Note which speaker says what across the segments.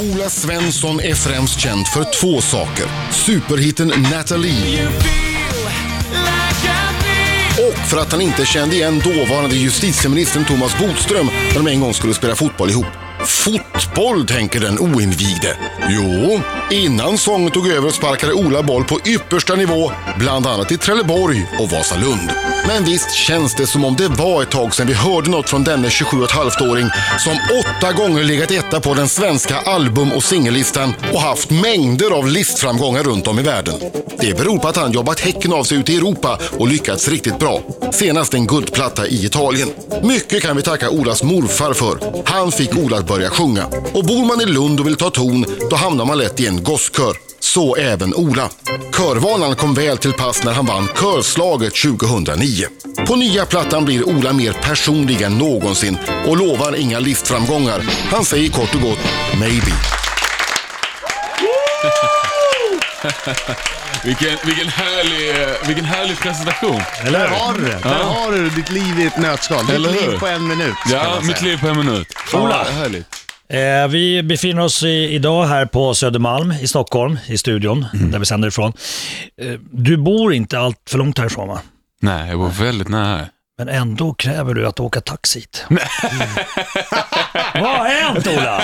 Speaker 1: Ola Svensson är främst känd för två saker. Superhitten Natalie och för att han inte kände igen dåvarande justitieministern Thomas Bodström när de en gång skulle spela fotboll ihop. Fotboll, tänker den oinvigde. Jo, innan sången tog över sparkade Ola boll på yppersta nivå, bland annat i Trelleborg och Vasalund. Men visst känns det som om det var ett tag sedan vi hörde något från denne 27,5-åring som åtta gånger legat etta på den svenska album och singellistan och haft mängder av listframgångar runt om i världen. Det beror på att han jobbat häcken av sig ute i Europa och lyckats riktigt bra. Senast en guldplatta i Italien. Mycket kan vi tacka Olas morfar för. Han fick Ola att börja sjunga. Och bor man i Lund och vill ta ton, då hamnar man lätt i en gosskör. Så även Ola. Körvanan kom väl till pass när han vann Körslaget 2009. På nya plattan blir Ola mer personlig än någonsin och lovar inga listframgångar. Han säger kort och gott “maybe”.
Speaker 2: Vilken, vilken, härlig, eh, vilken härlig presentation.
Speaker 3: Eller Där har du det. Där
Speaker 2: Ja.
Speaker 3: har du ditt liv i ett nötskal. Ditt
Speaker 2: Eller hur?
Speaker 3: liv på en minut. kan man
Speaker 2: Ja,
Speaker 3: säga.
Speaker 2: mitt liv på en minut.
Speaker 4: Ola.
Speaker 2: Ja, härligt.
Speaker 4: Eh, vi befinner oss i, idag här på Södermalm i Stockholm, i studion,
Speaker 2: Mm.
Speaker 4: där vi sänder ifrån. Eh, du bor inte allt för långt härifrån va?
Speaker 2: Nej, jag var väldigt nära. här.
Speaker 4: Men ändå kräver du att åka taxi hit. Mm. Vad har hänt Ola?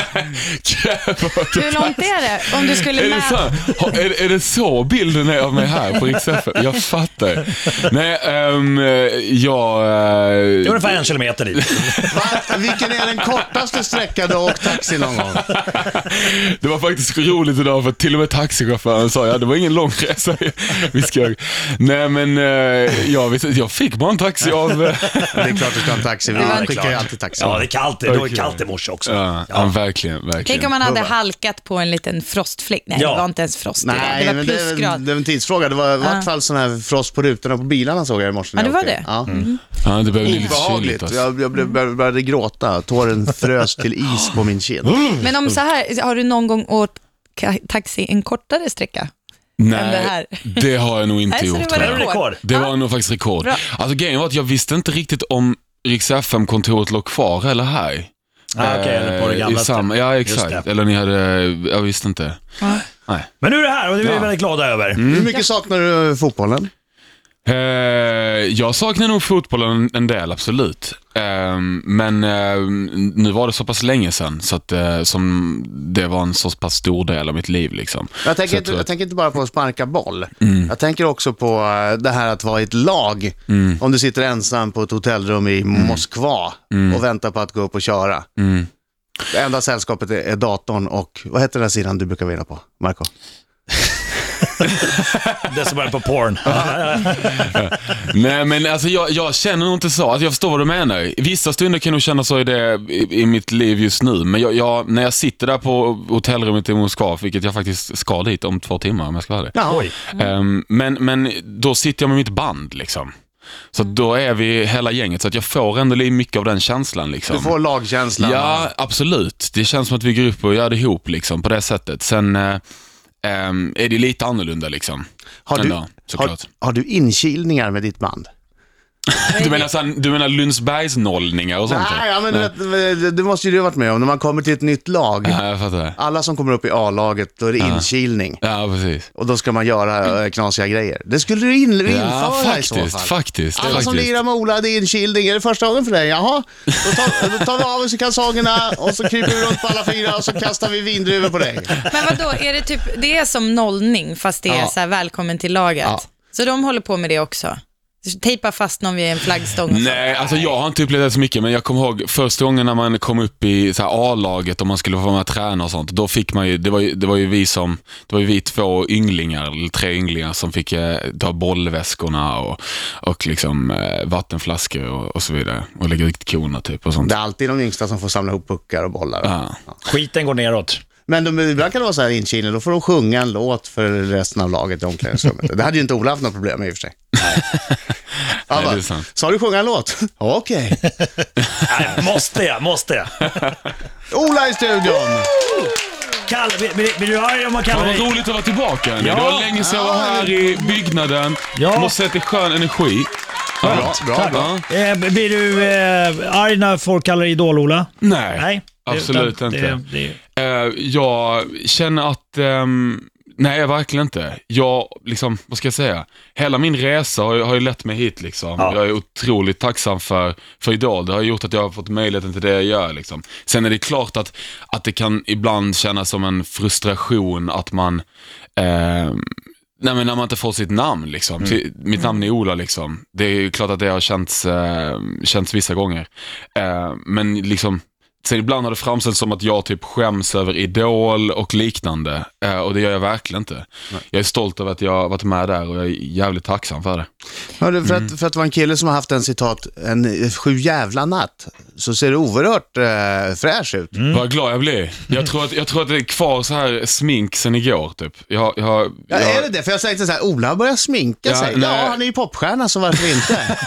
Speaker 5: Hur långt är det? Om du skulle
Speaker 2: Är det, så,
Speaker 5: mäta?
Speaker 2: Ha- är, är det så bilden är av mig här på Riksfm? Jag fattar. Nej, ehm, jag...
Speaker 4: Det är
Speaker 2: eh,
Speaker 4: ungefär en kilometer dit.
Speaker 3: Va? Vilken är den kortaste sträckan du har åkt taxi någon gång?
Speaker 2: Det var faktiskt roligt idag för till och med taxichauffören sa ja, det var ingen lång resa vi ska Nej men eh, jag, visste, jag fick bara en taxi av eh,
Speaker 3: Det är klart du ska ha en taxi. Vi
Speaker 4: Ja, det är
Speaker 3: skickar
Speaker 4: klart.
Speaker 3: ju alltid taxi.
Speaker 4: Ja, det är kallt. Det var
Speaker 2: Okej.
Speaker 4: kallt i morse också.
Speaker 2: ja, ja, verkligen,
Speaker 5: Tänk
Speaker 2: verkligen.
Speaker 5: om man hade halkat på en liten frostfläck. Nej,
Speaker 4: Ja.
Speaker 5: det var inte ens frost i det.
Speaker 3: Nej,
Speaker 5: Det var
Speaker 3: men det, är-
Speaker 5: plusgrad.
Speaker 3: det är en tidsfråga. Det var i vart fall sån här frost på rutorna på bilarna såg jag i morse. när
Speaker 5: Ja, det
Speaker 3: jag
Speaker 5: var det.
Speaker 3: åkte.
Speaker 5: Mm.
Speaker 3: Ja. Mm.
Speaker 2: Ja, det behöver bli lite kyligt
Speaker 3: Obehagligt.
Speaker 2: alltså.
Speaker 3: Jag, jag blev, började, började gråta. Tåren frös till is på min kind.
Speaker 2: Mm.
Speaker 5: Men om så här, har du någon gång åkt ka- taxi en kortare sträcka? än det
Speaker 2: Nej,
Speaker 5: här.
Speaker 2: det har jag nog inte
Speaker 5: Nej, så
Speaker 2: gjort.
Speaker 5: det
Speaker 2: tror
Speaker 5: var
Speaker 2: jag.
Speaker 4: Det är rekord.
Speaker 2: Det var nog faktiskt rekord.
Speaker 5: Bra.
Speaker 2: Alltså grejen var att jag visste inte riktigt om Rix FM-kontoret låg kvar eller här.
Speaker 4: Ah, Okej, eller på det
Speaker 2: Eh,
Speaker 4: gamla
Speaker 2: i samma, Ja,
Speaker 4: stället. Just
Speaker 2: exakt.
Speaker 4: det.
Speaker 2: Eller ni hade, jag visste inte.
Speaker 4: Men nu är det här och det är vi
Speaker 2: Ja. Mm.
Speaker 4: väldigt glada över.
Speaker 3: Hur mycket saknar du fotbollen?
Speaker 2: Eh, jag saknar nog fotbollen en- en del, absolut. Eh, men eh, nu var det så pass länge sedan, så att, eh, som det var en så pass stor del av mitt liv. Liksom.
Speaker 3: Jag
Speaker 2: Så
Speaker 3: tänker,
Speaker 2: jag Mm.
Speaker 3: inte,
Speaker 2: tror
Speaker 3: jag
Speaker 2: att-
Speaker 3: tänker inte bara på att sparka boll. Jag tänker också på eh, det här att vara i ett lag.
Speaker 2: Mm.
Speaker 3: Om du sitter ensam på ett hotellrum i Moskva
Speaker 2: Mm.
Speaker 3: och väntar på att gå upp och köra. Det enda sällskapet är, är datorn och, vad heter den här sidan du brukar vara inne på, Marco?
Speaker 4: Det som börjar på porn.
Speaker 2: Nej, men alltså, jag, jag känner nog inte så. Alltså, jag förstår vad du menar. I Vissa stunder kan jag nog känna så i, det, i, i mitt liv just nu. Men jag, jag, när jag sitter där på hotellrummet i Moskva, vilket jag faktiskt ska dit om två timmar om jag ska vara det.
Speaker 4: Oj.
Speaker 2: Ehm, men, men då sitter jag med mitt band. liksom. Så
Speaker 3: Mm.
Speaker 2: att då är vi hela gänget, så att jag får ändå li- mycket av den känslan. Liksom.
Speaker 3: Du får lagkänslan.
Speaker 2: Ja, absolut. Det känns som att vi går upp och gör det ihop liksom, på det sättet. Sen eh, ehm, är det lite annorlunda liksom.
Speaker 3: har, du,
Speaker 2: ändå,
Speaker 3: har,
Speaker 2: såklart.
Speaker 3: har du inkilningar med ditt band?
Speaker 2: Du menar, såhär, du menar Lundsbergsnollningar och sånt?
Speaker 3: Nej, ja, men du vet, det måste ju du ha varit med om. När man kommer till ett nytt lag,
Speaker 2: Ja, jag fattar.
Speaker 3: alla som kommer upp i A-laget, då är det inkilning.
Speaker 2: Ja, precis.
Speaker 3: Och då ska man göra eh, knasiga grejer. Det skulle du in, införa
Speaker 2: Ja,
Speaker 3: i
Speaker 2: faktiskt.
Speaker 3: så fall.
Speaker 2: Faktiskt.
Speaker 3: Alla som
Speaker 2: faktiskt.
Speaker 3: lirar med Ola, det är inkilning. Är det första gången för dig? Jaha. Då tar, då tar vi av oss kalsongerna och så kryper vi runt på alla fyra och så kastar vi vindruvor på dig.
Speaker 5: Men vadå, är det, typ, det är som nollning fast det är
Speaker 3: Ja.
Speaker 5: så här välkommen till laget.
Speaker 3: Ja.
Speaker 5: Så de håller på med det också. Tejpa fast någon vid en flaggstång. och så.
Speaker 2: Nej, alltså jag har inte upplevt det så mycket, men jag kommer ihåg första gången när man kom upp i så här A-laget och man skulle få vara med och träna och sånt. Då fick man ju, det var ju, det var ju vi som, det var ju vi två ynglingar, eller tre ynglingar som fick eh, ta bollväskorna och, och liksom eh, vattenflaskor och, och så vidare. Och lägga ut korna typ och sånt.
Speaker 3: Det är alltid de yngsta som får samla ihop puckar och bollar.
Speaker 2: Ja.
Speaker 4: Skiten går neråt.
Speaker 3: Men de, ibland kan det vara så här inkilning, då får de sjunga en låt för resten av laget i omklädningsrummet. Det hade ju inte Ola haft något problem med i och för sig. Han
Speaker 2: Nej, det är
Speaker 3: bara,
Speaker 2: sant.
Speaker 3: Sa du sjunga en låt? Okej.
Speaker 4: Nej, måste jag, måste jag.
Speaker 3: Ola i studion!
Speaker 4: Kalle, blir, blir, blir du arg om man
Speaker 2: Ja,
Speaker 4: kallar
Speaker 2: vad
Speaker 4: dig...
Speaker 2: roligt att vara tillbaka hörni.
Speaker 4: Ja.
Speaker 2: Det var länge sedan jag var här i byggnaden.
Speaker 4: Ja.
Speaker 2: Måste säga att det är skön energi.
Speaker 3: Bra, bra, bra.
Speaker 2: Ja.
Speaker 4: Eh, blir du eh, arg när folk kallar dig Idol-Ola?
Speaker 2: Nej,
Speaker 4: Nej.
Speaker 2: absolut
Speaker 4: Utan
Speaker 2: inte.
Speaker 4: Det, det,
Speaker 2: Eh, jag känner att, ehm, nej verkligen inte. Jag, liksom, vad ska jag säga? Hela min resa har, ju- har ju lett mig hit liksom.
Speaker 4: Ja.
Speaker 2: Jag är otroligt tacksam för, för Idol. Det har gjort att jag har fått möjligheten till det jag gör liksom. Sen är det klart att, att det kan ibland kännas som en frustration att man, ehm, Nej men när man inte får sitt namn liksom. Ty-
Speaker 3: Mm.
Speaker 2: Mitt namn är Ola liksom. Det är ju klart att det har känts, eh, känts vissa gånger. Eh, men liksom, sen ibland har det framställts som att jag typ skäms över Idol och liknande. Eh, och det gör jag verkligen inte. Jag är stolt över att jag har varit med där och jag är jävligt tacksam för det.
Speaker 3: Hörde, för, att, för att vara en kille som har haft en citat, en sju jävla natt, så ser det oerhört eh, fräsch ut.
Speaker 2: Vad glad jag blir. Jag tror, att, jag tror att det är kvar så här smink sen igår typ. Jag, jag,
Speaker 3: Ja,
Speaker 2: jag,
Speaker 3: Är det det? För jag tänkte så här, Ola börjar sminka
Speaker 2: Ja,
Speaker 3: sig.
Speaker 2: nej.
Speaker 3: Ja, han är ju popstjärna, så varför inte?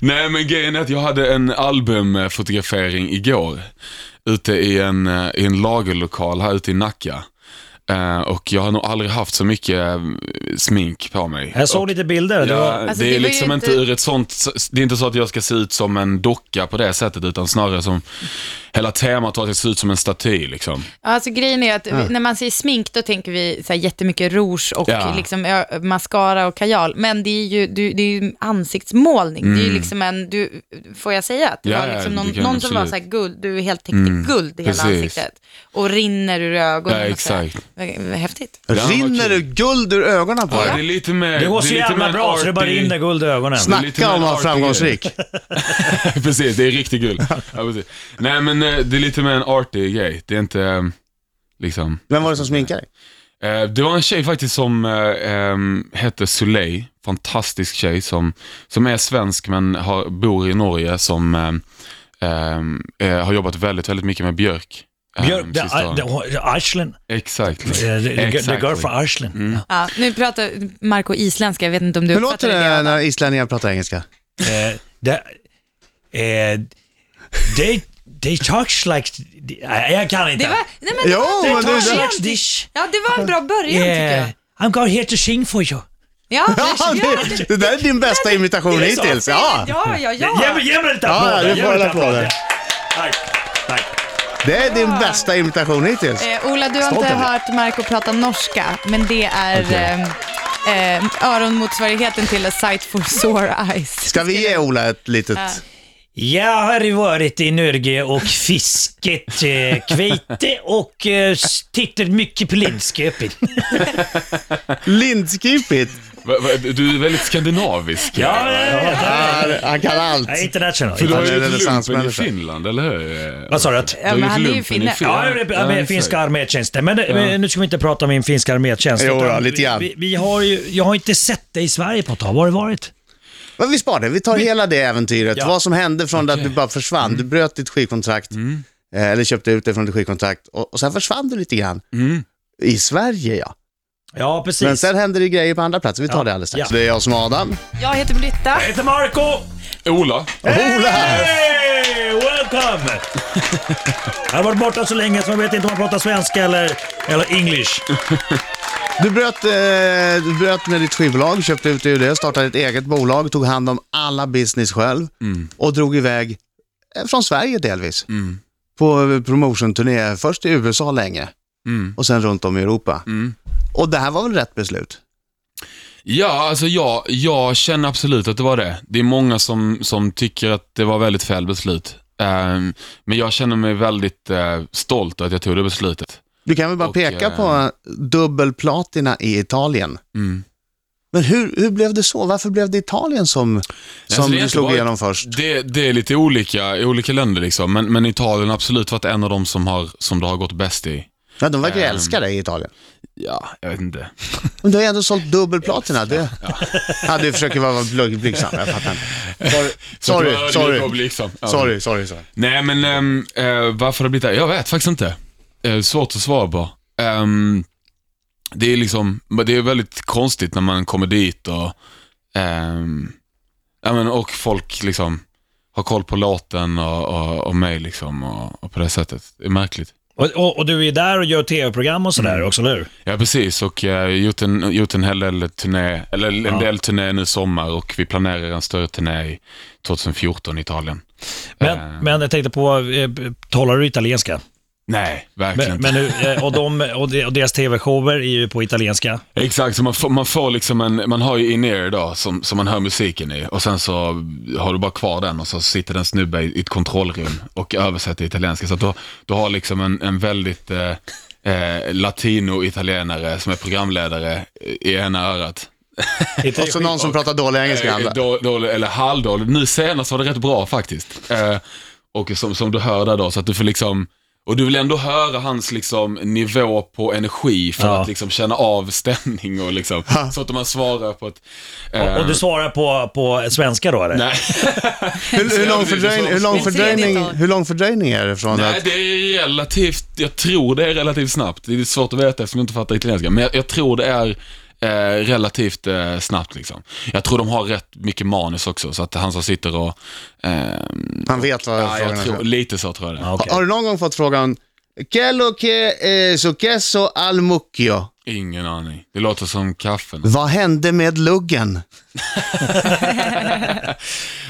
Speaker 2: Nej men grejen är att jag hade en albumfotografering igår. Ute i en, eh, i en lagerlokal här ute i Nacka. Eh, och jag har nog aldrig haft så mycket eh, smink på mig.
Speaker 4: Jag såg
Speaker 2: och,
Speaker 4: lite bilder. Det
Speaker 2: Ja,
Speaker 4: var,
Speaker 5: Alltså,
Speaker 2: det,
Speaker 5: det
Speaker 2: är
Speaker 5: var ju
Speaker 2: liksom inte
Speaker 5: inte-
Speaker 2: ur ett sånt, det är inte så att jag ska se ut som en docka på det sättet utan snarare som, hela temat var att jag ser ut som en staty liksom.
Speaker 5: Ja, Alltså grejen är att vi, när man säger smink, då tänker vi så här jättemycket rouge och
Speaker 2: Ja.
Speaker 5: liksom, ö, mascara och kajal. Men det är ju, du, det är ju ansiktsmålning. Det är ju liksom en, du, får jag säga att det
Speaker 2: Ja,
Speaker 5: var
Speaker 2: ja,
Speaker 5: liksom
Speaker 2: du
Speaker 5: någon,
Speaker 2: kan
Speaker 5: någon som var
Speaker 2: absolut.
Speaker 5: så här guld, du är helt täckt i guld i hela
Speaker 2: precis.
Speaker 5: ansiktet. Och rinner ur ögonen.
Speaker 2: Ja,
Speaker 5: och så här.
Speaker 2: exakt.
Speaker 5: Vad- vad Häftigt.
Speaker 2: Ja, vad
Speaker 3: Rinner
Speaker 2: kul.
Speaker 3: du guld ur ögonen på
Speaker 2: Ja.
Speaker 3: dig?
Speaker 2: Det är lite mer...
Speaker 4: det går så
Speaker 2: är lite mer
Speaker 4: jävla
Speaker 2: en
Speaker 4: bra så det bara
Speaker 2: arty-
Speaker 4: rinner guld i ögonen.
Speaker 2: Snack. det är lite
Speaker 3: Snacka om
Speaker 2: mer
Speaker 3: att vara
Speaker 2: artig
Speaker 3: framgångsrik.
Speaker 2: precis, det är riktigt guld. Ja, precis. Nej men eh, det är lite mer en artig grej. Det är inte eh, liksom...
Speaker 3: Vem var det som sminkade dig?
Speaker 2: Eh, Det var en tjej faktiskt som eh, ehm, hette Soleil, fantastisk tjej som, som är svensk men har, bor i Norge som ehm, ehm, eh, har jobbat väldigt, väldigt mycket med Björk. ehm,
Speaker 4: Björk, det,
Speaker 2: sista åren.
Speaker 4: det, Arslen.
Speaker 2: Exakt.
Speaker 4: Eh, det- det- det- The girl
Speaker 2: Exactly. Mm.
Speaker 4: från Arslen.
Speaker 5: Ja, nu pratar Marco isländska, jag vet inte om du
Speaker 3: Hur låter
Speaker 5: uppfattar
Speaker 3: det
Speaker 5: Adam.
Speaker 3: när islänningar pratar engelska?
Speaker 4: Eh, det, eh, they, they talks like... Nej, jag kan inte.
Speaker 5: Det var, nej men det
Speaker 3: Jo,
Speaker 5: var,
Speaker 3: men
Speaker 4: they
Speaker 3: det-
Speaker 4: talks
Speaker 3: det-
Speaker 4: like
Speaker 5: det-
Speaker 4: this.
Speaker 5: ja, det var en bra början tycker
Speaker 4: Yeah.
Speaker 5: jag.
Speaker 4: I'm going here to sing for you.
Speaker 5: Ja,
Speaker 3: Ja,
Speaker 5: det, ja,
Speaker 3: det, det där är din bästa imitation
Speaker 4: det är så.
Speaker 3: hittills.
Speaker 5: ja,
Speaker 3: Ja,
Speaker 5: ja, ja,
Speaker 4: Ge, mig- ge mig lite
Speaker 3: Ja,
Speaker 4: applåder.
Speaker 3: du
Speaker 4: ge
Speaker 3: får
Speaker 4: mig lite
Speaker 3: en applåd.
Speaker 4: applåder. Tack, tack.
Speaker 3: det är din bästa imitation hittills.
Speaker 5: Eh, Ola, du har
Speaker 4: Stolt
Speaker 5: inte
Speaker 4: över det.
Speaker 5: hört Marco prata norska, men det är eh, eh, öronmotsvarigheten till A Sight for Sore Eyes.
Speaker 3: Ska vi ge Ola ett litet...
Speaker 4: Jag har varit i Norge och fiskat eh, kvite och eh, s- tittat mycket på Linköping.
Speaker 3: Lindskipigt.
Speaker 2: Va- va- Du är väldigt skandinavisk.
Speaker 4: Ja,
Speaker 3: Han, han kan allt.
Speaker 4: jag är international.
Speaker 2: För du har
Speaker 3: Han är
Speaker 2: ju
Speaker 3: en
Speaker 2: ett lumpen i
Speaker 3: renässansmänniska.
Speaker 2: Finland, eller hur? Eh,
Speaker 4: Vad sa du? att-
Speaker 2: Du har
Speaker 5: men
Speaker 2: gjort
Speaker 5: han är ju
Speaker 2: lumpen i
Speaker 5: finne.
Speaker 2: Finland.
Speaker 4: Ja, det är med
Speaker 2: exakt.
Speaker 4: finska armétjänsten. Men, det- men nu ska vi inte prata om min finska armétjänst.
Speaker 3: Jo då,
Speaker 4: utan
Speaker 3: lite grann.
Speaker 4: Vi, vi har ju, jag har inte sett dig i Sverige på ett tag. Var har du varit?
Speaker 3: Men vi sparar det. Vi tar hela det äventyret.
Speaker 4: Ja. Mm.
Speaker 3: Vad som hände från det att du bara försvann. Du bröt ditt skivkontrakt. eh, Eller köpte ut det från ditt skivkontrakt. Och, och sen försvann du lite grann. I Sverige ja.
Speaker 4: Ja, Mm. precis.
Speaker 3: Men sen händer det grejer på andra platser. Vi tar det alldeles strax.
Speaker 4: Ja.
Speaker 3: Det är jag som är Adam.
Speaker 5: Jag heter Britta.
Speaker 4: Jag heter Marco!
Speaker 2: Ola.
Speaker 3: Ola!
Speaker 4: Hey, welcome! Jag har varit borta så länge så man vet inte om man pratar svenska eller, eller english.
Speaker 3: Du bröt, eh, du bröt med ditt skivbolag, köpte ut det ur det, startade ett eget bolag, tog hand om alla business själv
Speaker 2: Mm.
Speaker 3: och drog iväg eh, från Sverige delvis. På eh, promotionturné, först i USA länge
Speaker 2: Mm.
Speaker 3: och sen runt om i Europa.
Speaker 2: Mm.
Speaker 3: Och det här var väl rätt beslut?
Speaker 2: Ja, alltså jag, jag känner absolut att det var det. Det är många som, som tycker att det var väldigt fel beslut. Ehm, men jag känner mig väldigt eh, stolt att jag tog det beslutet.
Speaker 3: Du kan väl bara
Speaker 2: Och,
Speaker 3: peka
Speaker 2: eh,
Speaker 3: på dubbel platina i Italien.
Speaker 2: Mm.
Speaker 3: Men hur, hur blev det så? Varför blev det Italien som,
Speaker 2: Alltså,
Speaker 3: som
Speaker 2: det är
Speaker 3: du
Speaker 2: inte
Speaker 3: slog
Speaker 2: bara-
Speaker 3: igenom först?
Speaker 2: Det, det är lite olika i olika länder liksom, men, men Italien har absolut varit en av de som, har, som det har gått bäst i.
Speaker 3: Ja, de verkar ju
Speaker 2: Ehm.
Speaker 3: älska dig i Italien.
Speaker 2: Ja, jag vet inte.
Speaker 3: Men du har ju ändå sålt dubbel platina. Du, ja, du försöker vara blyg- blygsam, jag fattar inte. Sorry, sorry, sorry.
Speaker 2: Liksom. Ja.
Speaker 3: Sorry, sorry, sorry.
Speaker 2: Nej, men ehm, eh, varför det har blivit det? här? Jag vet faktiskt inte. Eh, svårt att svara på. Ehm, det är liksom, men det är väldigt konstigt när man kommer dit och, ehm, ja, men, och folk liksom har koll på låten och, och, och mig liksom och, och på det sättet. Det är märkligt.
Speaker 4: Och, och, och du är där och gör tv-program och sådär också, eller hur?
Speaker 2: Ja, precis. Och eh, gjort, en, gjort en hel del turné, eller en del turné nu i sommar och vi planerar en större turné i 2014 i Italien.
Speaker 4: Men,
Speaker 2: Eh.
Speaker 4: men jag tänkte på, eh, talar du italienska?
Speaker 2: Nej, verkligen
Speaker 4: Men,
Speaker 2: inte.
Speaker 4: men nu, eh, och, de, och de- och deras tv-shower är ju på italienska.
Speaker 2: Exakt, så man får, man får liksom en, man har ju in-ear då som, som man hör musiken i och sen så har du bara kvar den och så sitter den snubbe i, i ett kontrollrum och översätter italienska. Så att du, har- du har liksom en, en väldigt eh, eh, latino-italienare som är programledare i ena örat.
Speaker 4: Inte
Speaker 3: Och så någon som pratar dålig engelska. i
Speaker 2: Eh,
Speaker 3: andra.
Speaker 2: då- Dålig, eller halvdålig. Nu senast var det rätt bra faktiskt. Eh, och som, som du hör där då, så att du får liksom och du vill ändå höra hans liksom, nivå på energi för
Speaker 4: Ja.
Speaker 2: att liksom, känna av stämning och liksom, så att man svarar på ett...
Speaker 4: och, och du svarar på, på svenska då eller?
Speaker 2: Nej,
Speaker 3: Hur, hur, lång fördröjning, hur, lång
Speaker 5: Min tredje
Speaker 3: fördröjning,
Speaker 5: dag.
Speaker 3: hur lång fördröjning är det från
Speaker 2: nej,
Speaker 3: att...
Speaker 2: det är relativt, jag tror det är relativt snabbt. Det är svårt att veta eftersom jag inte fattar italienska, men jag, jag tror det är eh, relativt eh, snabbt liksom. Jag tror de har rätt mycket manus också, så att han som sitter och... ehm,
Speaker 3: Han vet vad
Speaker 2: Ja,
Speaker 3: frågan
Speaker 2: jag
Speaker 3: är.
Speaker 2: tror, lite så tror jag det.
Speaker 4: Ja, okej.
Speaker 3: Har du någon gång fått frågan Quello che eh, successo al mucchio?
Speaker 2: Ingen aning. Det låter som kaffe.
Speaker 3: Vad hände med luggen?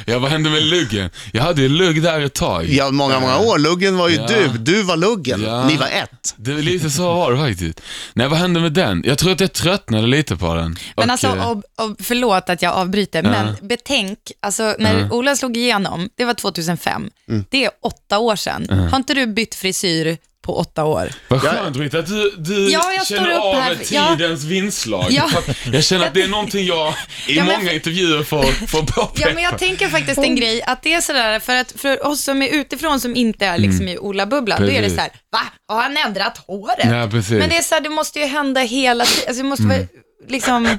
Speaker 2: Ja, vad hände med luggen? Jag hade ju lugg där ett tag.
Speaker 3: Ja, många, många år. Luggen var ju
Speaker 2: Ja.
Speaker 3: du. Du var luggen.
Speaker 2: Ja.
Speaker 3: Ni var ett.
Speaker 2: Det var lite så var det faktiskt. Nej, vad hände med den? Jag tror att jag tröttnade lite på den.
Speaker 5: Men
Speaker 2: Och,
Speaker 5: alltså,
Speaker 2: eh,
Speaker 5: ob, ob, förlåt att jag avbryter, men betänk, alltså, när Ola slog igenom, det var 2005,
Speaker 4: Mm.
Speaker 5: det är åtta år sedan. Har inte du bytt frisyr på åtta år?
Speaker 2: Vad skönt Britta, att du, du
Speaker 5: Ja, jag står
Speaker 2: känner
Speaker 5: upp
Speaker 2: av
Speaker 5: här. Ja.
Speaker 2: tidens vingslag.
Speaker 5: Ja.
Speaker 2: Fan, Jag känner att det är någonting jag i
Speaker 5: Ja, men-
Speaker 2: många intervjuer får, får påpeka.
Speaker 5: Ja, men jag tänker faktiskt en grej, att det är sådär, för att för oss som är utifrån som inte är liksom
Speaker 3: Mm.
Speaker 5: i Ola-bubblan, då är det
Speaker 2: Precis.
Speaker 5: så här, va? Har han ändrat håret?
Speaker 2: Ja, precis.
Speaker 5: Men det är så här, det måste ju hända hela tiden, alltså, det måste
Speaker 3: Mm.
Speaker 5: vara, liksom,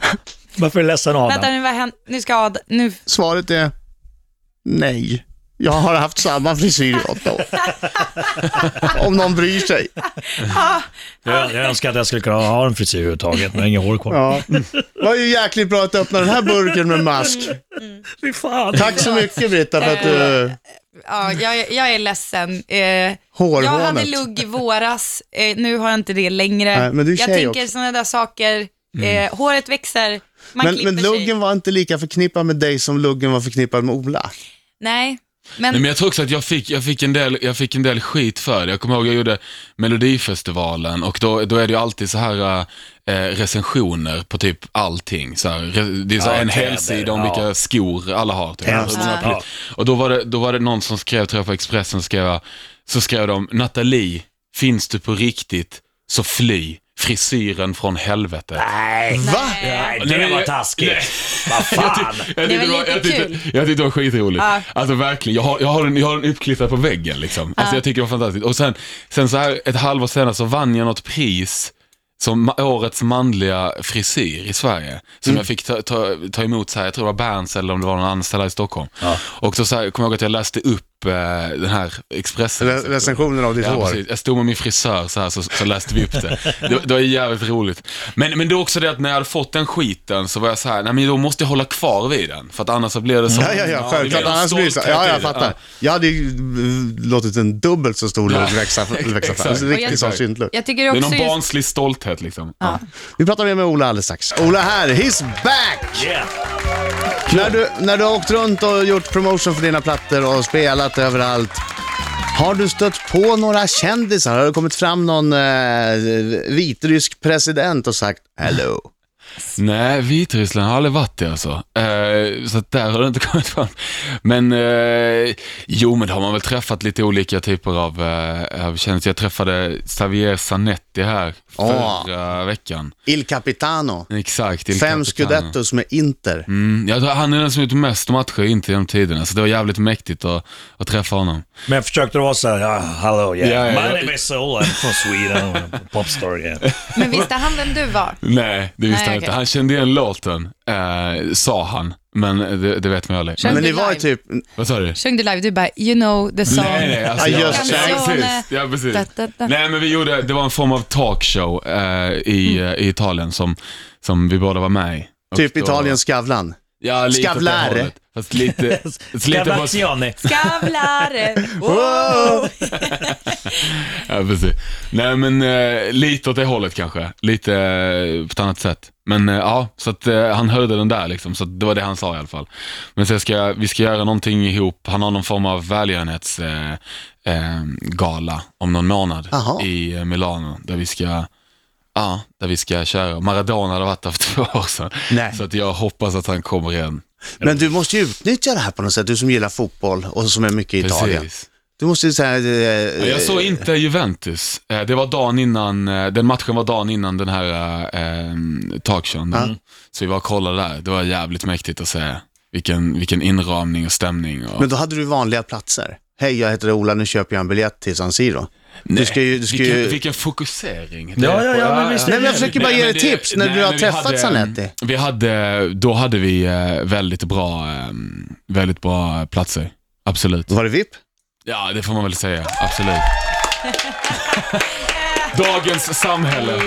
Speaker 4: Varför är du ledsen Adam?
Speaker 5: vänta nu, vad händer? Nu ska Ad, nu,
Speaker 3: Svaret är nej. Jag har haft samma frisyr i åtta år. Om någon bryr sig.
Speaker 5: ah!
Speaker 4: Jag, jag önskar att jag skulle kunna ha en frisyr överhuvudtaget, men jag har inga hår kvar.
Speaker 3: Ja. Det var ju jäkligt bra att öppna den här burken med mask.
Speaker 4: Fy fan.
Speaker 3: Tack så mycket Britta för att du...
Speaker 5: ja, jag, jag är ledsen. Eh, Jag
Speaker 3: Hårhånet.
Speaker 5: hade lugg i våras, eh, nu har jag inte det längre.
Speaker 3: Nej, men du är
Speaker 5: jag
Speaker 3: tjej Mm.
Speaker 5: tänker sådana där saker, eh, håret växer, man
Speaker 3: Men,
Speaker 5: klipper
Speaker 3: men luggen
Speaker 5: sig.
Speaker 3: var inte lika förknippad med dig som luggen var förknippad med Ola.
Speaker 5: Nej, men,
Speaker 2: Nej, men jag tror också att jag fick, jag, fick en del, jag fick en del skit för det. Jag kommer ihåg jag gjorde Melodifestivalen och då, då är det ju alltid så här eh, recensioner på typ allting. Så här, re- det är så här
Speaker 4: Ja,
Speaker 2: en
Speaker 4: kläder,
Speaker 2: helsida om
Speaker 4: ja.
Speaker 2: vilka skor alla har. Typ.
Speaker 3: Hemskt.
Speaker 2: Och,
Speaker 4: Ja.
Speaker 2: och då, var det, då var det någon som skrev, tror jag på Expressen, skrev, jag- så skrev de Nathalie, finns du på riktigt så fly. Frisyren från helvetet.
Speaker 4: Nej,
Speaker 3: Va?
Speaker 4: nej, det var taskigt. Vad fan.
Speaker 2: Jag
Speaker 5: Det
Speaker 2: tyckte
Speaker 5: var
Speaker 2: det var,
Speaker 5: lite
Speaker 2: jag tyckte,
Speaker 5: kul.
Speaker 2: jag tyckte det var skitroligt.
Speaker 5: Ja.
Speaker 2: Alltså verkligen, jag har, jag, har den, jag har den uppklistrad på väggen liksom. Alltså jag tycker det var fantastiskt. Och sen, sen så här ett halvår senare så vann jag något pris som ma- årets manliga frisyr i Sverige. Som
Speaker 5: Mm.
Speaker 2: jag fick ta, ta, ta emot så här, jag tror det var Berns eller om det var någon annan ställe i Stockholm. Och då så här, kom jag ihåg att jag läste upp eh, den här Expressen.
Speaker 3: Re- Recensionen av ditt
Speaker 2: Ja,
Speaker 3: hår.
Speaker 2: precis. Jag stod med min frisör så här så, så läste vi upp det. Det, det var jävligt roligt. Men, men det är också det att när jag hade fått den skiten så var jag så här, nej men då måste jag hålla kvar vid den. För att annars så blir det så.
Speaker 3: Ja, ja, ja, självklart.
Speaker 2: det blir en
Speaker 3: Annars blir det så.
Speaker 2: stolthet
Speaker 3: Ja,
Speaker 2: i
Speaker 3: jag
Speaker 2: det.
Speaker 3: fattar. Jag hade ju eh, låtit en dubbelt så stor lugg
Speaker 2: Ja.
Speaker 3: växa, växa fram.
Speaker 2: Exakt.
Speaker 3: En riktig sån
Speaker 2: Exakt.
Speaker 3: syntlugg.
Speaker 5: jag tycker
Speaker 2: Det är
Speaker 5: också
Speaker 2: någon
Speaker 5: just-
Speaker 2: barnslig stolthet liksom. Ja.
Speaker 3: Vi pratar mer med Ola alldeles strax. Ola här, he's back!
Speaker 4: Yeah.
Speaker 3: När du, när du har åkt runt och gjort promotion för dina plattor och spelat överallt, har du stött på några kändisar? Har det kommit fram någon eh, vitrysk president och sagt hello?
Speaker 2: Nej, Vitryssland har aldrig varit det alltså. Eh, så att där har det inte kommit fram. Men, eh, jo men det har man väl träffat lite olika typer av, eh, av kändisar. Jag träffade Xavier Zanetti här
Speaker 3: Åh.
Speaker 2: förra veckan.
Speaker 3: Il Capitano.
Speaker 2: Exakt. Il
Speaker 3: Fem
Speaker 2: Capitano.
Speaker 3: scudettos med Inter.
Speaker 2: Mm, jag tror han är den som gjort mest matcher inte genom tiderna, så det var jävligt mäktigt att, att träffa honom.
Speaker 4: Men försökte du vara såhär, ja, hallå, yeah.
Speaker 2: Ja, ja, ja.
Speaker 4: My name is Ola, I'm from Sweden, I'm a popstar, yeah.
Speaker 5: men visste han vem du var?
Speaker 2: Nej, det visste
Speaker 5: Nej,
Speaker 2: han
Speaker 5: okej.
Speaker 2: inte. Han kände igen låten, eh, sa han, men det, det vet man ju aldrig.
Speaker 5: Kände-
Speaker 2: Men,
Speaker 3: Men det var
Speaker 5: live.
Speaker 3: typ,
Speaker 2: vad sa du?
Speaker 5: Sjöng du live, du bara, you know the song.
Speaker 2: Nej, nej, alltså,
Speaker 3: Ja,
Speaker 2: jag,
Speaker 3: just
Speaker 2: ja,
Speaker 5: det.
Speaker 2: precis, ja, precis.
Speaker 5: Da, da, da.
Speaker 2: Nej, men vi gjorde, det var en form av talkshow eh, i,
Speaker 5: Mm.
Speaker 2: eh, i Italien som, som vi båda var med i. Och
Speaker 3: typ
Speaker 2: då-
Speaker 3: Italiens Skavlan.
Speaker 2: ja, lite åt det
Speaker 3: Skavlare.
Speaker 2: hållet. Fast lite, lite på,
Speaker 4: Gavaziani.
Speaker 5: Skavlare, wow.
Speaker 2: Ja, precis. Nej, men eh, lite åt det hållet kanske. Lite eh, på ett annat sätt. Men eh, ja, så att eh, han hörde den där liksom, så att det var det han sa i alla fall. Men sen ska vi ska göra någonting ihop. Han har någon form av välgörenhets... Eh, eh, gala om någon månad
Speaker 3: Jaha.
Speaker 2: i eh, Milano där vi ska Ja, där vi ska köra. Maradona hade varit där för två år sedan.
Speaker 3: Nej.
Speaker 2: Så att jag hoppas att han kommer igen.
Speaker 3: Men du måste ju utnyttja det här på något sätt, du som gillar fotboll och som är mycket i Italien.
Speaker 2: Precis.
Speaker 3: Du måste ju säga... eh,
Speaker 2: Ja, Jag såg inte Juventus. Eh, Det var dagen innan, eh, den matchen var dagen innan den här eh, talkshowen. Så vi var och kollade där. Det var jävligt mäktigt att se. Vilken, vilken inramning och stämning. Och...
Speaker 3: Men då hade du vanliga platser. Hej, jag heter Ola, nu köper jag en biljett till San Siro. Du ska ju, du ska
Speaker 2: vilken,
Speaker 3: ju...
Speaker 2: vilken fokusering.
Speaker 4: Ja, ja, ja, men visst är
Speaker 3: Nej, men jag försöker bara
Speaker 2: Nej,
Speaker 3: ge
Speaker 2: men
Speaker 3: dig
Speaker 2: det-
Speaker 3: tips när
Speaker 2: nej,
Speaker 3: du har
Speaker 2: men vi
Speaker 3: träffat
Speaker 2: hade, eh,
Speaker 3: Zanetti.
Speaker 2: Vi hade, då hade vi eh, väldigt bra, eh, väldigt bra platser. Absolut.
Speaker 3: Var det VIP?
Speaker 2: Ja, det får man väl säga. Absolut. Dagens samhälle.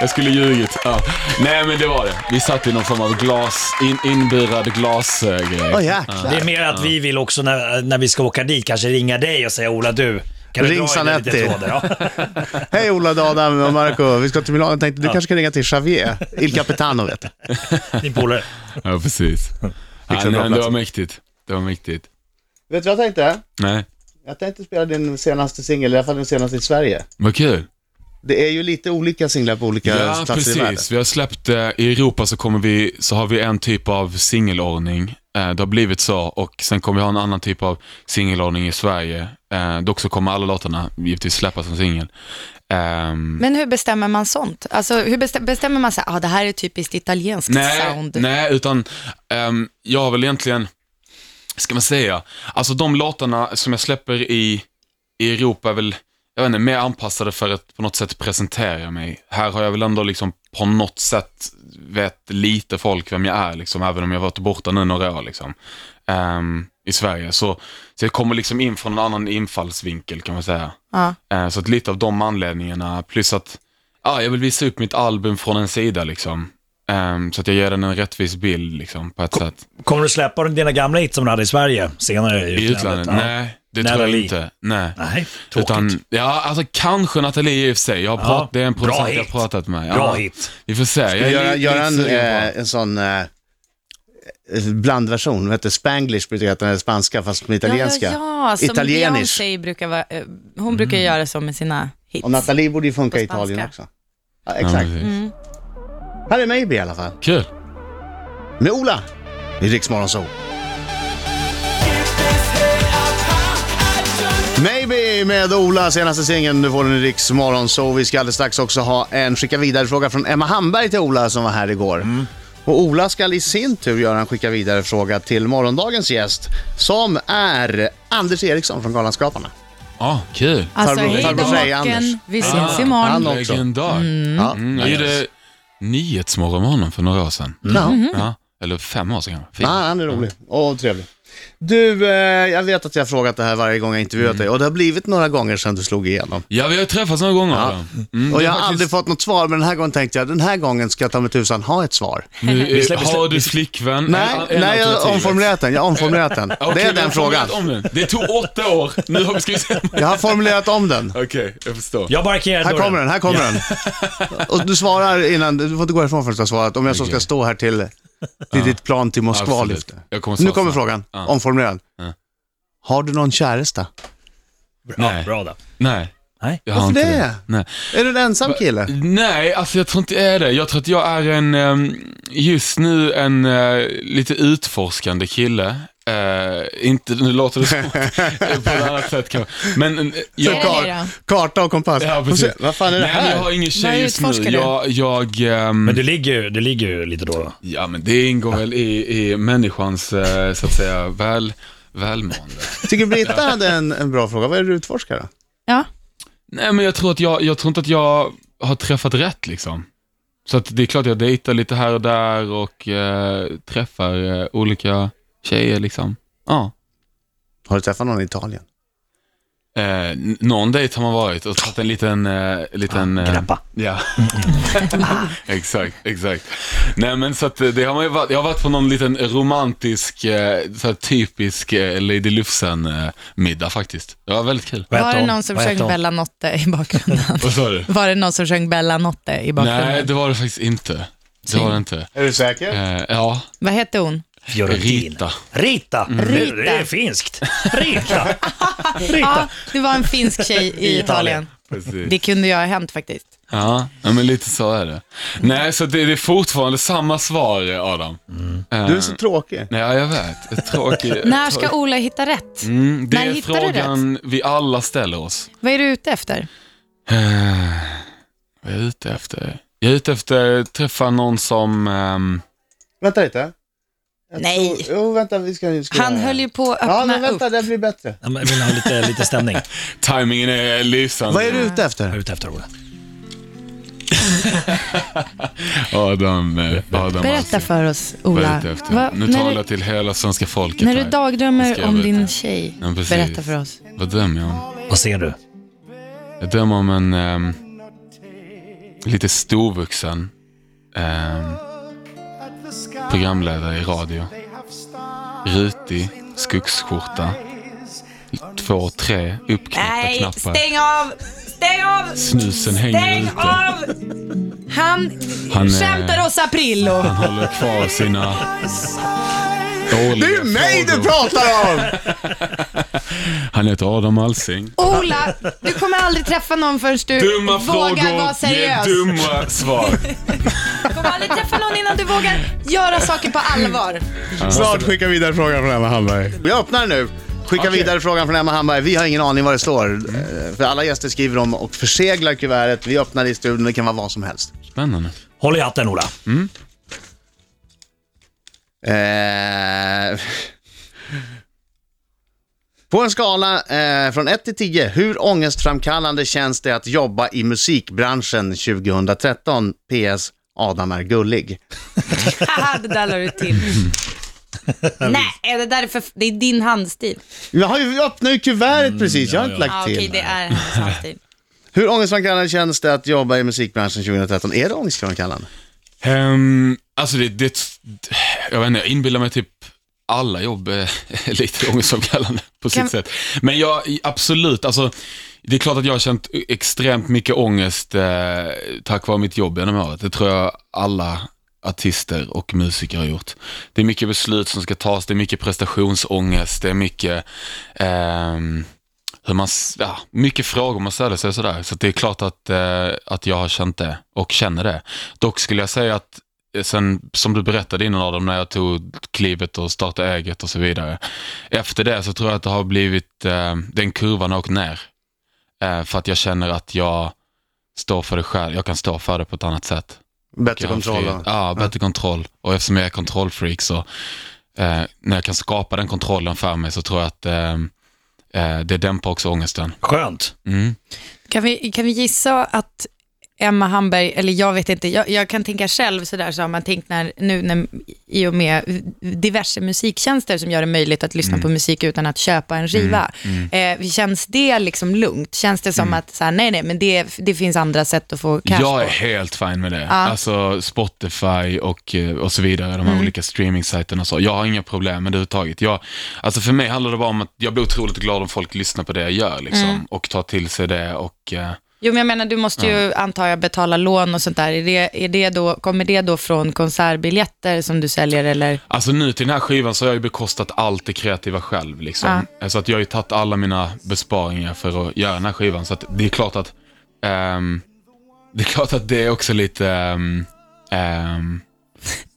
Speaker 2: Jag skulle ljugit. Ja. Nej, men det var det. Vi satt i någon form av glas, in, inburad glasgrej.
Speaker 3: Åh
Speaker 4: Det är
Speaker 3: jäklar.
Speaker 4: mer att vi vill också när, när vi ska åka dit kanske ringa dig och säga Ola du, kan du
Speaker 3: Ring
Speaker 4: dra i den lite
Speaker 3: Zanetti."
Speaker 4: tråden? Ja.
Speaker 3: Hej Ola, Adam och Marco. Vi ska till Milano. Jag tänkte du kanske kan ringa till Xavier. Il Capitano vet du.
Speaker 4: Din polare.
Speaker 2: Ja, precis. Ja,
Speaker 3: bra
Speaker 2: nej, det
Speaker 3: plats.
Speaker 2: var mäktigt. Det var mäktigt.
Speaker 3: Vet du vad jag tänkte?
Speaker 2: Nej,
Speaker 3: Jag tänkte spela din senaste singel, i alla fall den senaste i Sverige.
Speaker 2: vad kul.
Speaker 3: Det är ju lite olika singlar på olika
Speaker 2: Ja,
Speaker 3: platser i världen.
Speaker 2: precis. Vi har släppt, eh, i Europa så, kommer vi, så har vi en typ av singelordning. Eh, det har blivit så och sen kommer vi ha en annan typ av singelordning i Sverige. Eh, dock så kommer alla låtarna givetvis släppas som singel. Ehm,
Speaker 5: Men hur bestämmer man sånt? Alltså, hur bestä- bestämmer man så här, ah, det här är typiskt italienskt sound?
Speaker 2: Nej, utan ehm, jag har väl egentligen, ska man säga, alltså de låtarna som jag släpper i, i Europa är väl, jag vet inte, mer anpassade för att på något sätt presentera mig. Här har jag väl ändå liksom på något sätt vet lite folk vem jag är, liksom, även om jag varit borta nu några år liksom, ehm, i Sverige. Så, så jag kommer liksom in från en annan infallsvinkel kan man säga.
Speaker 5: Ja.
Speaker 2: Eh, Så att lite av de anledningarna, plus att ja, jag vill visa upp mitt album från en sida liksom. Ehm, så att jag ger den en rättvis bild liksom, på ett sätt.
Speaker 4: Kommer du släppa dina gamla hits som du hade i Sverige senare i
Speaker 2: I
Speaker 4: utlandet?
Speaker 2: utlandet?
Speaker 4: Ja.
Speaker 2: Nej, det
Speaker 4: Nathalie.
Speaker 2: tror jag inte. Nej.
Speaker 4: Nej, tråkigt.
Speaker 2: Utan, ja, alltså kanske Nathalie i och för sig. Jag har
Speaker 4: Ja.
Speaker 2: prat, Det är en
Speaker 4: Bra
Speaker 2: producent jag
Speaker 4: hit.
Speaker 2: har pratat med. Ja,
Speaker 4: Bra hit.
Speaker 2: Vi får se. Jag är
Speaker 3: Göra,
Speaker 2: lite-
Speaker 3: göra en,
Speaker 2: lite sugen på-
Speaker 3: eh, en sån eh, blandversion, vad heter det? Spanglish brukar det heta, den är spanska fast med italienska.
Speaker 5: Ja, ja, ja. Som
Speaker 3: Italienisch.
Speaker 5: Beyoncé brukar vara, eh, hon brukar ju göra så med sina hits.
Speaker 3: Och Nathalie borde ju funka
Speaker 5: På
Speaker 3: i Italien
Speaker 5: spanska.
Speaker 3: också. Ja,
Speaker 2: Ja,
Speaker 3: exakt.
Speaker 2: precis.
Speaker 5: Mm.
Speaker 3: Här är Maybe i alla fall.
Speaker 2: Kul.
Speaker 3: Med Ola i Rix Morgon Zoo. Maybe med Ola, senaste singeln. Du får den i Riks Morgonzoo. Vi ska alldeles strax också ha en skicka vidare-fråga från Emma Hamberg till Ola som var här igår.
Speaker 2: Mm.
Speaker 3: Och Ola ska i sin tur göra en skicka vidare-fråga till morgondagens gäst som är Anders Eriksson från Galenskaparna.
Speaker 2: Ja, kul.
Speaker 5: Alltså,
Speaker 3: Farbror-
Speaker 5: hej
Speaker 3: farbror
Speaker 5: då
Speaker 3: Freja Anders.
Speaker 5: maken, vi syns
Speaker 2: Ah,
Speaker 5: imorgon.
Speaker 3: han också.
Speaker 2: Legendar.
Speaker 3: Ja.
Speaker 2: Mm, jag gjorde Nyhetsmorgon med honom för några år sedan.
Speaker 3: Ja.
Speaker 5: Mm.
Speaker 2: Ja, eller fem år sedan kanske. Fint.
Speaker 3: Ja, han är rolig och trevlig. Du, eh, jag vet att jag har frågat det här varje gång jag
Speaker 2: Mm.
Speaker 3: intervjuat dig och det har blivit några gånger sedan du slog igenom.
Speaker 2: Ja, vi har ju träffats några gånger.
Speaker 3: Ja.
Speaker 2: Ja. Mm,
Speaker 3: Och
Speaker 2: det
Speaker 3: jag
Speaker 2: är
Speaker 3: har aldrig fått något svar, men den här gången tänkte jag den här gången ska jag ta mig tusan ha ett svar.
Speaker 2: Nu, eh,
Speaker 4: slä- vi slä-
Speaker 2: har du flickvän?
Speaker 3: Nej,
Speaker 2: En- en
Speaker 3: nej jag har
Speaker 2: alternativet.
Speaker 3: omformulerat den. Jag har omformulerat den.
Speaker 2: Okej,
Speaker 3: det är
Speaker 2: vi har
Speaker 3: den frågan.
Speaker 2: formulerat om den. Det tog åtta år. Nu har vi skrivit
Speaker 3: Jag har formulerat om den.
Speaker 2: Okej, jag förstår.
Speaker 4: Jag markerar
Speaker 3: Här
Speaker 4: dörren.
Speaker 3: kommer den, här kommer den. Och du svarar innan, du får inte gå härifrån förrän du har svarat. Om jag så ska
Speaker 2: Okej.
Speaker 3: stå här till, till ditt plan till Moskva
Speaker 2: Absolut.
Speaker 3: lyfter.
Speaker 2: Jag kommer svara
Speaker 3: Nu kommer
Speaker 2: snabbt.
Speaker 3: frågan,
Speaker 2: Ja.
Speaker 3: omformulerad. Har du någon käresta?
Speaker 4: Ja,
Speaker 2: Nej.
Speaker 4: bra då.
Speaker 2: Nej.
Speaker 4: Nej.
Speaker 2: Jag har
Speaker 3: Varför
Speaker 2: inte
Speaker 3: det?
Speaker 2: Nej.
Speaker 3: Är du en ensam kille?
Speaker 2: Nej, alltså jag tror inte jag är det. Jag tror att jag är en, ehm, just nu en eh, lite utforskande kille. Eh, inte, nu låter det som, på ett annat sätt kanske. Men eh, jag,
Speaker 5: Så Säg det
Speaker 3: karta och kompass.
Speaker 2: Ja,
Speaker 3: Får se,
Speaker 2: precis.
Speaker 3: Vad fan är det
Speaker 2: Nej, men jag
Speaker 3: här?
Speaker 2: har ingen
Speaker 5: Vad
Speaker 2: tjej just nu.
Speaker 5: utforskar du?
Speaker 2: Jag, jag, ehm,
Speaker 4: Men du ligger, ju- du ligger ju lite då. då.
Speaker 2: Ja, men det ingår väl i, i människans, eh, så att säga, väl, välmående.
Speaker 3: Tycker Britta hade en, en bra fråga. Vad är det du utforskar då?
Speaker 5: Ja.
Speaker 2: Nej, men jag tror, att jag, jag tror inte att jag har träffat rätt liksom. Så att det är klart jag dejtar lite här och där och eh, träffar eh, olika tjejer liksom. Ja.
Speaker 3: Har du träffat någon i Italien?
Speaker 2: Eh, n- någon dejt har man varit och tagit en liten... Eh, liten eh,
Speaker 4: Grabba.
Speaker 2: Ja. exakt, exakt. Nej men så att eh, det har man ju varit, jag har varit på någon liten romantisk, eh, så här typisk eh, Lady Lufsen eh, middag faktiskt. Det var väldigt kul.
Speaker 4: Vad
Speaker 5: Var
Speaker 4: hette
Speaker 5: det
Speaker 4: hon?
Speaker 5: någon som
Speaker 4: Vad hette
Speaker 5: sjöng
Speaker 4: hon?
Speaker 5: Bella Notte i bakgrunden?
Speaker 2: Vad sa du?
Speaker 5: Var det någon som sjöng Bella Notte i bakgrunden?
Speaker 2: Nej, det var det faktiskt inte. Det var det inte.
Speaker 3: Är du säker?
Speaker 2: Eh, ja,
Speaker 5: Vad hette hon?
Speaker 4: Fiorentina.
Speaker 2: Rita.
Speaker 5: Mm.
Speaker 4: Rita. Det, det är
Speaker 5: Rita.
Speaker 4: finskt. Rita.
Speaker 5: ja, Ah, det var en finsk tjej i
Speaker 4: Italien.
Speaker 5: Italien.
Speaker 2: Precis.
Speaker 5: Det kunde ju ha hänt faktiskt.
Speaker 2: Ja, ja, men lite så är det. Nej, så det, det är fortfarande samma svar, Adam. Eh,
Speaker 3: Mm. Du är så tråkig.
Speaker 2: Nej, jag vet. Ett Tråkig,
Speaker 5: När
Speaker 2: tråkig-
Speaker 5: ska Ola hitta rätt?
Speaker 2: Mm, det
Speaker 5: När
Speaker 2: är
Speaker 5: hittar du
Speaker 2: frågan vi alla ställer oss.
Speaker 5: Vad är du ute efter?
Speaker 2: Eh, Vad är jag ute efter? Jag är ute efter att träffa någon som... ehm,
Speaker 3: Vänta lite. Jag
Speaker 5: Nej.
Speaker 3: tror- Jo, vänta, vi ska... Vi ska
Speaker 5: Han höll ju på att öppna
Speaker 3: Ja, men vänta,
Speaker 5: upp.
Speaker 3: det blir bättre.
Speaker 4: Ja, men Jag vill ha lite, lite stämning.
Speaker 2: timingen är lysande.
Speaker 3: Vad är du ute
Speaker 4: Jag är
Speaker 3: efter?
Speaker 4: ute efter Ola.
Speaker 2: Adam, eh, Adam
Speaker 5: Berätta
Speaker 2: Alsing.
Speaker 5: för oss,
Speaker 2: Vad är jag
Speaker 5: Ola.
Speaker 2: ute efter?
Speaker 5: Va,
Speaker 2: nu
Speaker 5: när,
Speaker 2: talar
Speaker 5: du,
Speaker 2: jag till hela svenska folket
Speaker 5: när du
Speaker 2: här. Ska
Speaker 5: dagdrömmer
Speaker 2: jag
Speaker 5: om
Speaker 2: berätta?
Speaker 5: din tjej,
Speaker 2: Ja, precis.
Speaker 5: berätta för oss.
Speaker 2: Vad drömmer jag om?
Speaker 4: Vad ser du?
Speaker 2: Jag drömmer om en ehm, lite storvuxen ehm, programledare i radio. Rutig, skogsskjorta, två, tre uppknäppta
Speaker 5: Nej,
Speaker 2: knappar.
Speaker 5: stäng av! Stäng av!
Speaker 2: Snusen hänger
Speaker 5: Stäng
Speaker 2: ute.
Speaker 5: av! Han,
Speaker 2: Han, eh,
Speaker 5: skämtar oss Aprillo.
Speaker 2: Han håller kvar sina
Speaker 3: Det
Speaker 2: årliga
Speaker 3: är ju mig du
Speaker 2: frågor.
Speaker 3: pratar om!
Speaker 2: Han heter Adam Alsing.
Speaker 5: Ola, du kommer aldrig träffa någon förrän du
Speaker 2: Dumma
Speaker 5: vågar
Speaker 2: frågor
Speaker 5: vara seriös.
Speaker 2: ger dumma svar.
Speaker 5: Du kommer aldrig träffa någon innan du vågar göra saker på allvar.
Speaker 3: Snart skickar vi vidare frågan från Emma Hallberg. Vi öppnar nu. Skicka vidare frågan från Emma Hallberg. Vi har ingen aning vad det står. Eh, För alla gäster skriver om och förseglar kuvertet. Vi öppnar det i studion. Det kan vara vad som helst.
Speaker 2: Spännande.
Speaker 4: Håll i hatten Ola.
Speaker 2: Mm.
Speaker 3: Eh... På en skala eh, från 1 till 10, hur ångestframkallande känns det att jobba i musikbranschen 2013? PS. Adam är gullig.
Speaker 5: Haha, det där la du till. Nej, det där är, för, det är din handstil.
Speaker 3: Jag har ju öppnat ju kuvertet
Speaker 2: Mm,
Speaker 3: precis, jag har inte
Speaker 5: Ah,
Speaker 3: lagt
Speaker 5: Okej,
Speaker 3: till.
Speaker 5: det är hennes handstil.
Speaker 3: Hur ångestframkallande känns det att jobba i musikbranschen 2013? Är det ångestframkallande?
Speaker 2: Ehm, alltså det, det, jag vet inte, jag inbillar mig typ alla jobb är lite ångestframkallande på
Speaker 5: Kan-
Speaker 2: sitt sätt. Men jag, absolut, alltså det är klart att jag har känt extremt mycket ångest eh, tack vare mitt jobb genom året. Det tror jag alla artister och musiker har gjort. Det är mycket beslut som ska tas, det är mycket prestationsångest, det är mycket ehm, hur man, s- ja, mycket frågor man ställer sig och sådär. Så att det är klart att, eh, att jag har känt det och känner det. Dock skulle jag säga att eh, sen, som du berättade innan Adam, när jag tog klivet och startade eget och så vidare. Efter det så tror jag att det har blivit, eh, den kurvan har åkt ner. Eh, för att jag känner att jag står för det själv, jag kan stå för det på ett annat sätt.
Speaker 3: Bättre
Speaker 2: Jag har
Speaker 3: kontroll
Speaker 2: frihet.
Speaker 3: då?
Speaker 2: Ja, bättre kontroll. Och eftersom jag är kontrollfreak så, eh, när jag kan skapa den kontrollen för mig så tror jag att eh, eh, det dämpar också ångesten.
Speaker 4: Skönt.
Speaker 2: Mm.
Speaker 5: Kan vi, kan vi gissa att Emma Hamberg, eller jag vet inte, jag, jag kan tänka själv sådär så har man tänkt när, nu när, i och med diverse musiktjänster som gör det möjligt att lyssna på
Speaker 2: Mm.
Speaker 5: musik utan att köpa en skiva. Eh, känns det liksom lugnt? Känns det som att, så här, nej nej, men det, det finns andra sätt att få cash
Speaker 2: Mm. Jag är
Speaker 5: på?
Speaker 2: helt fin med det. Alltså Spotify och, eh, och så vidare, de här olika streamingsajterna och så. Jag har inga problem med det överhuvudtaget. Jag, alltså för mig handlar det bara om att jag blir otroligt glad om folk lyssnar på det jag gör liksom, och tar till sig det och eh,
Speaker 5: Jo, men jag menar, du måste ju, antar jag, betala lån och sånt där. Är det, är det då, kommer det då från konsertbiljetter som du säljer, eller?
Speaker 2: Alltså nu till den här skivan så har jag ju bekostat allt det kreativa själv. Liksom. Så att jag har ju tagit alla mina besparingar för att göra den här skivan. Så att det är klart att ehm, det är klart att det är också lite... ehm, ehm,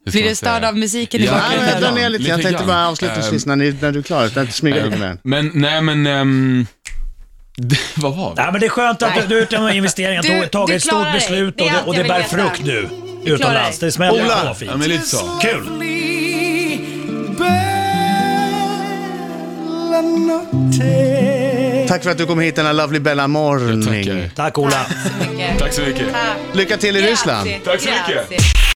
Speaker 2: hur ska
Speaker 5: Blir
Speaker 2: man
Speaker 5: du störd
Speaker 2: säga?
Speaker 5: av musiken i
Speaker 2: Ja,
Speaker 5: bakgrunden?
Speaker 3: Nej, men jag drar ner lite.
Speaker 2: Lite
Speaker 3: Jag tänkte
Speaker 2: grann. Ehm.
Speaker 3: bara avslutningsvis när, ni, när du är klar. Jag tänkte smyga lite med den.
Speaker 2: Men nej men... ehm, det, vad var det?
Speaker 4: Nej, men det är skönt att du- du har gjort en investering, att
Speaker 5: Du-
Speaker 4: du har
Speaker 5: du
Speaker 4: tagit ett
Speaker 5: klarar
Speaker 4: stort
Speaker 5: dig.
Speaker 4: beslut
Speaker 5: Det är
Speaker 4: och det,
Speaker 5: allt
Speaker 4: och
Speaker 5: jag
Speaker 4: det
Speaker 5: vill
Speaker 4: bär
Speaker 5: veta.
Speaker 4: frukt nu. Utomlands.
Speaker 5: dig.
Speaker 4: Det smäller.
Speaker 3: Ola!
Speaker 4: Ola!
Speaker 2: Ja men lite så.
Speaker 4: Kul!
Speaker 3: Tack för att du kom hit denna lovely Bella morning.
Speaker 2: Tackar.
Speaker 4: Tack Ola!
Speaker 5: Tack så mycket. Ah.
Speaker 2: Tack så mycket.
Speaker 5: Tack.
Speaker 3: Lycka till i Ryssland.
Speaker 5: Grazie.
Speaker 2: Tack så mycket.
Speaker 5: Grazie.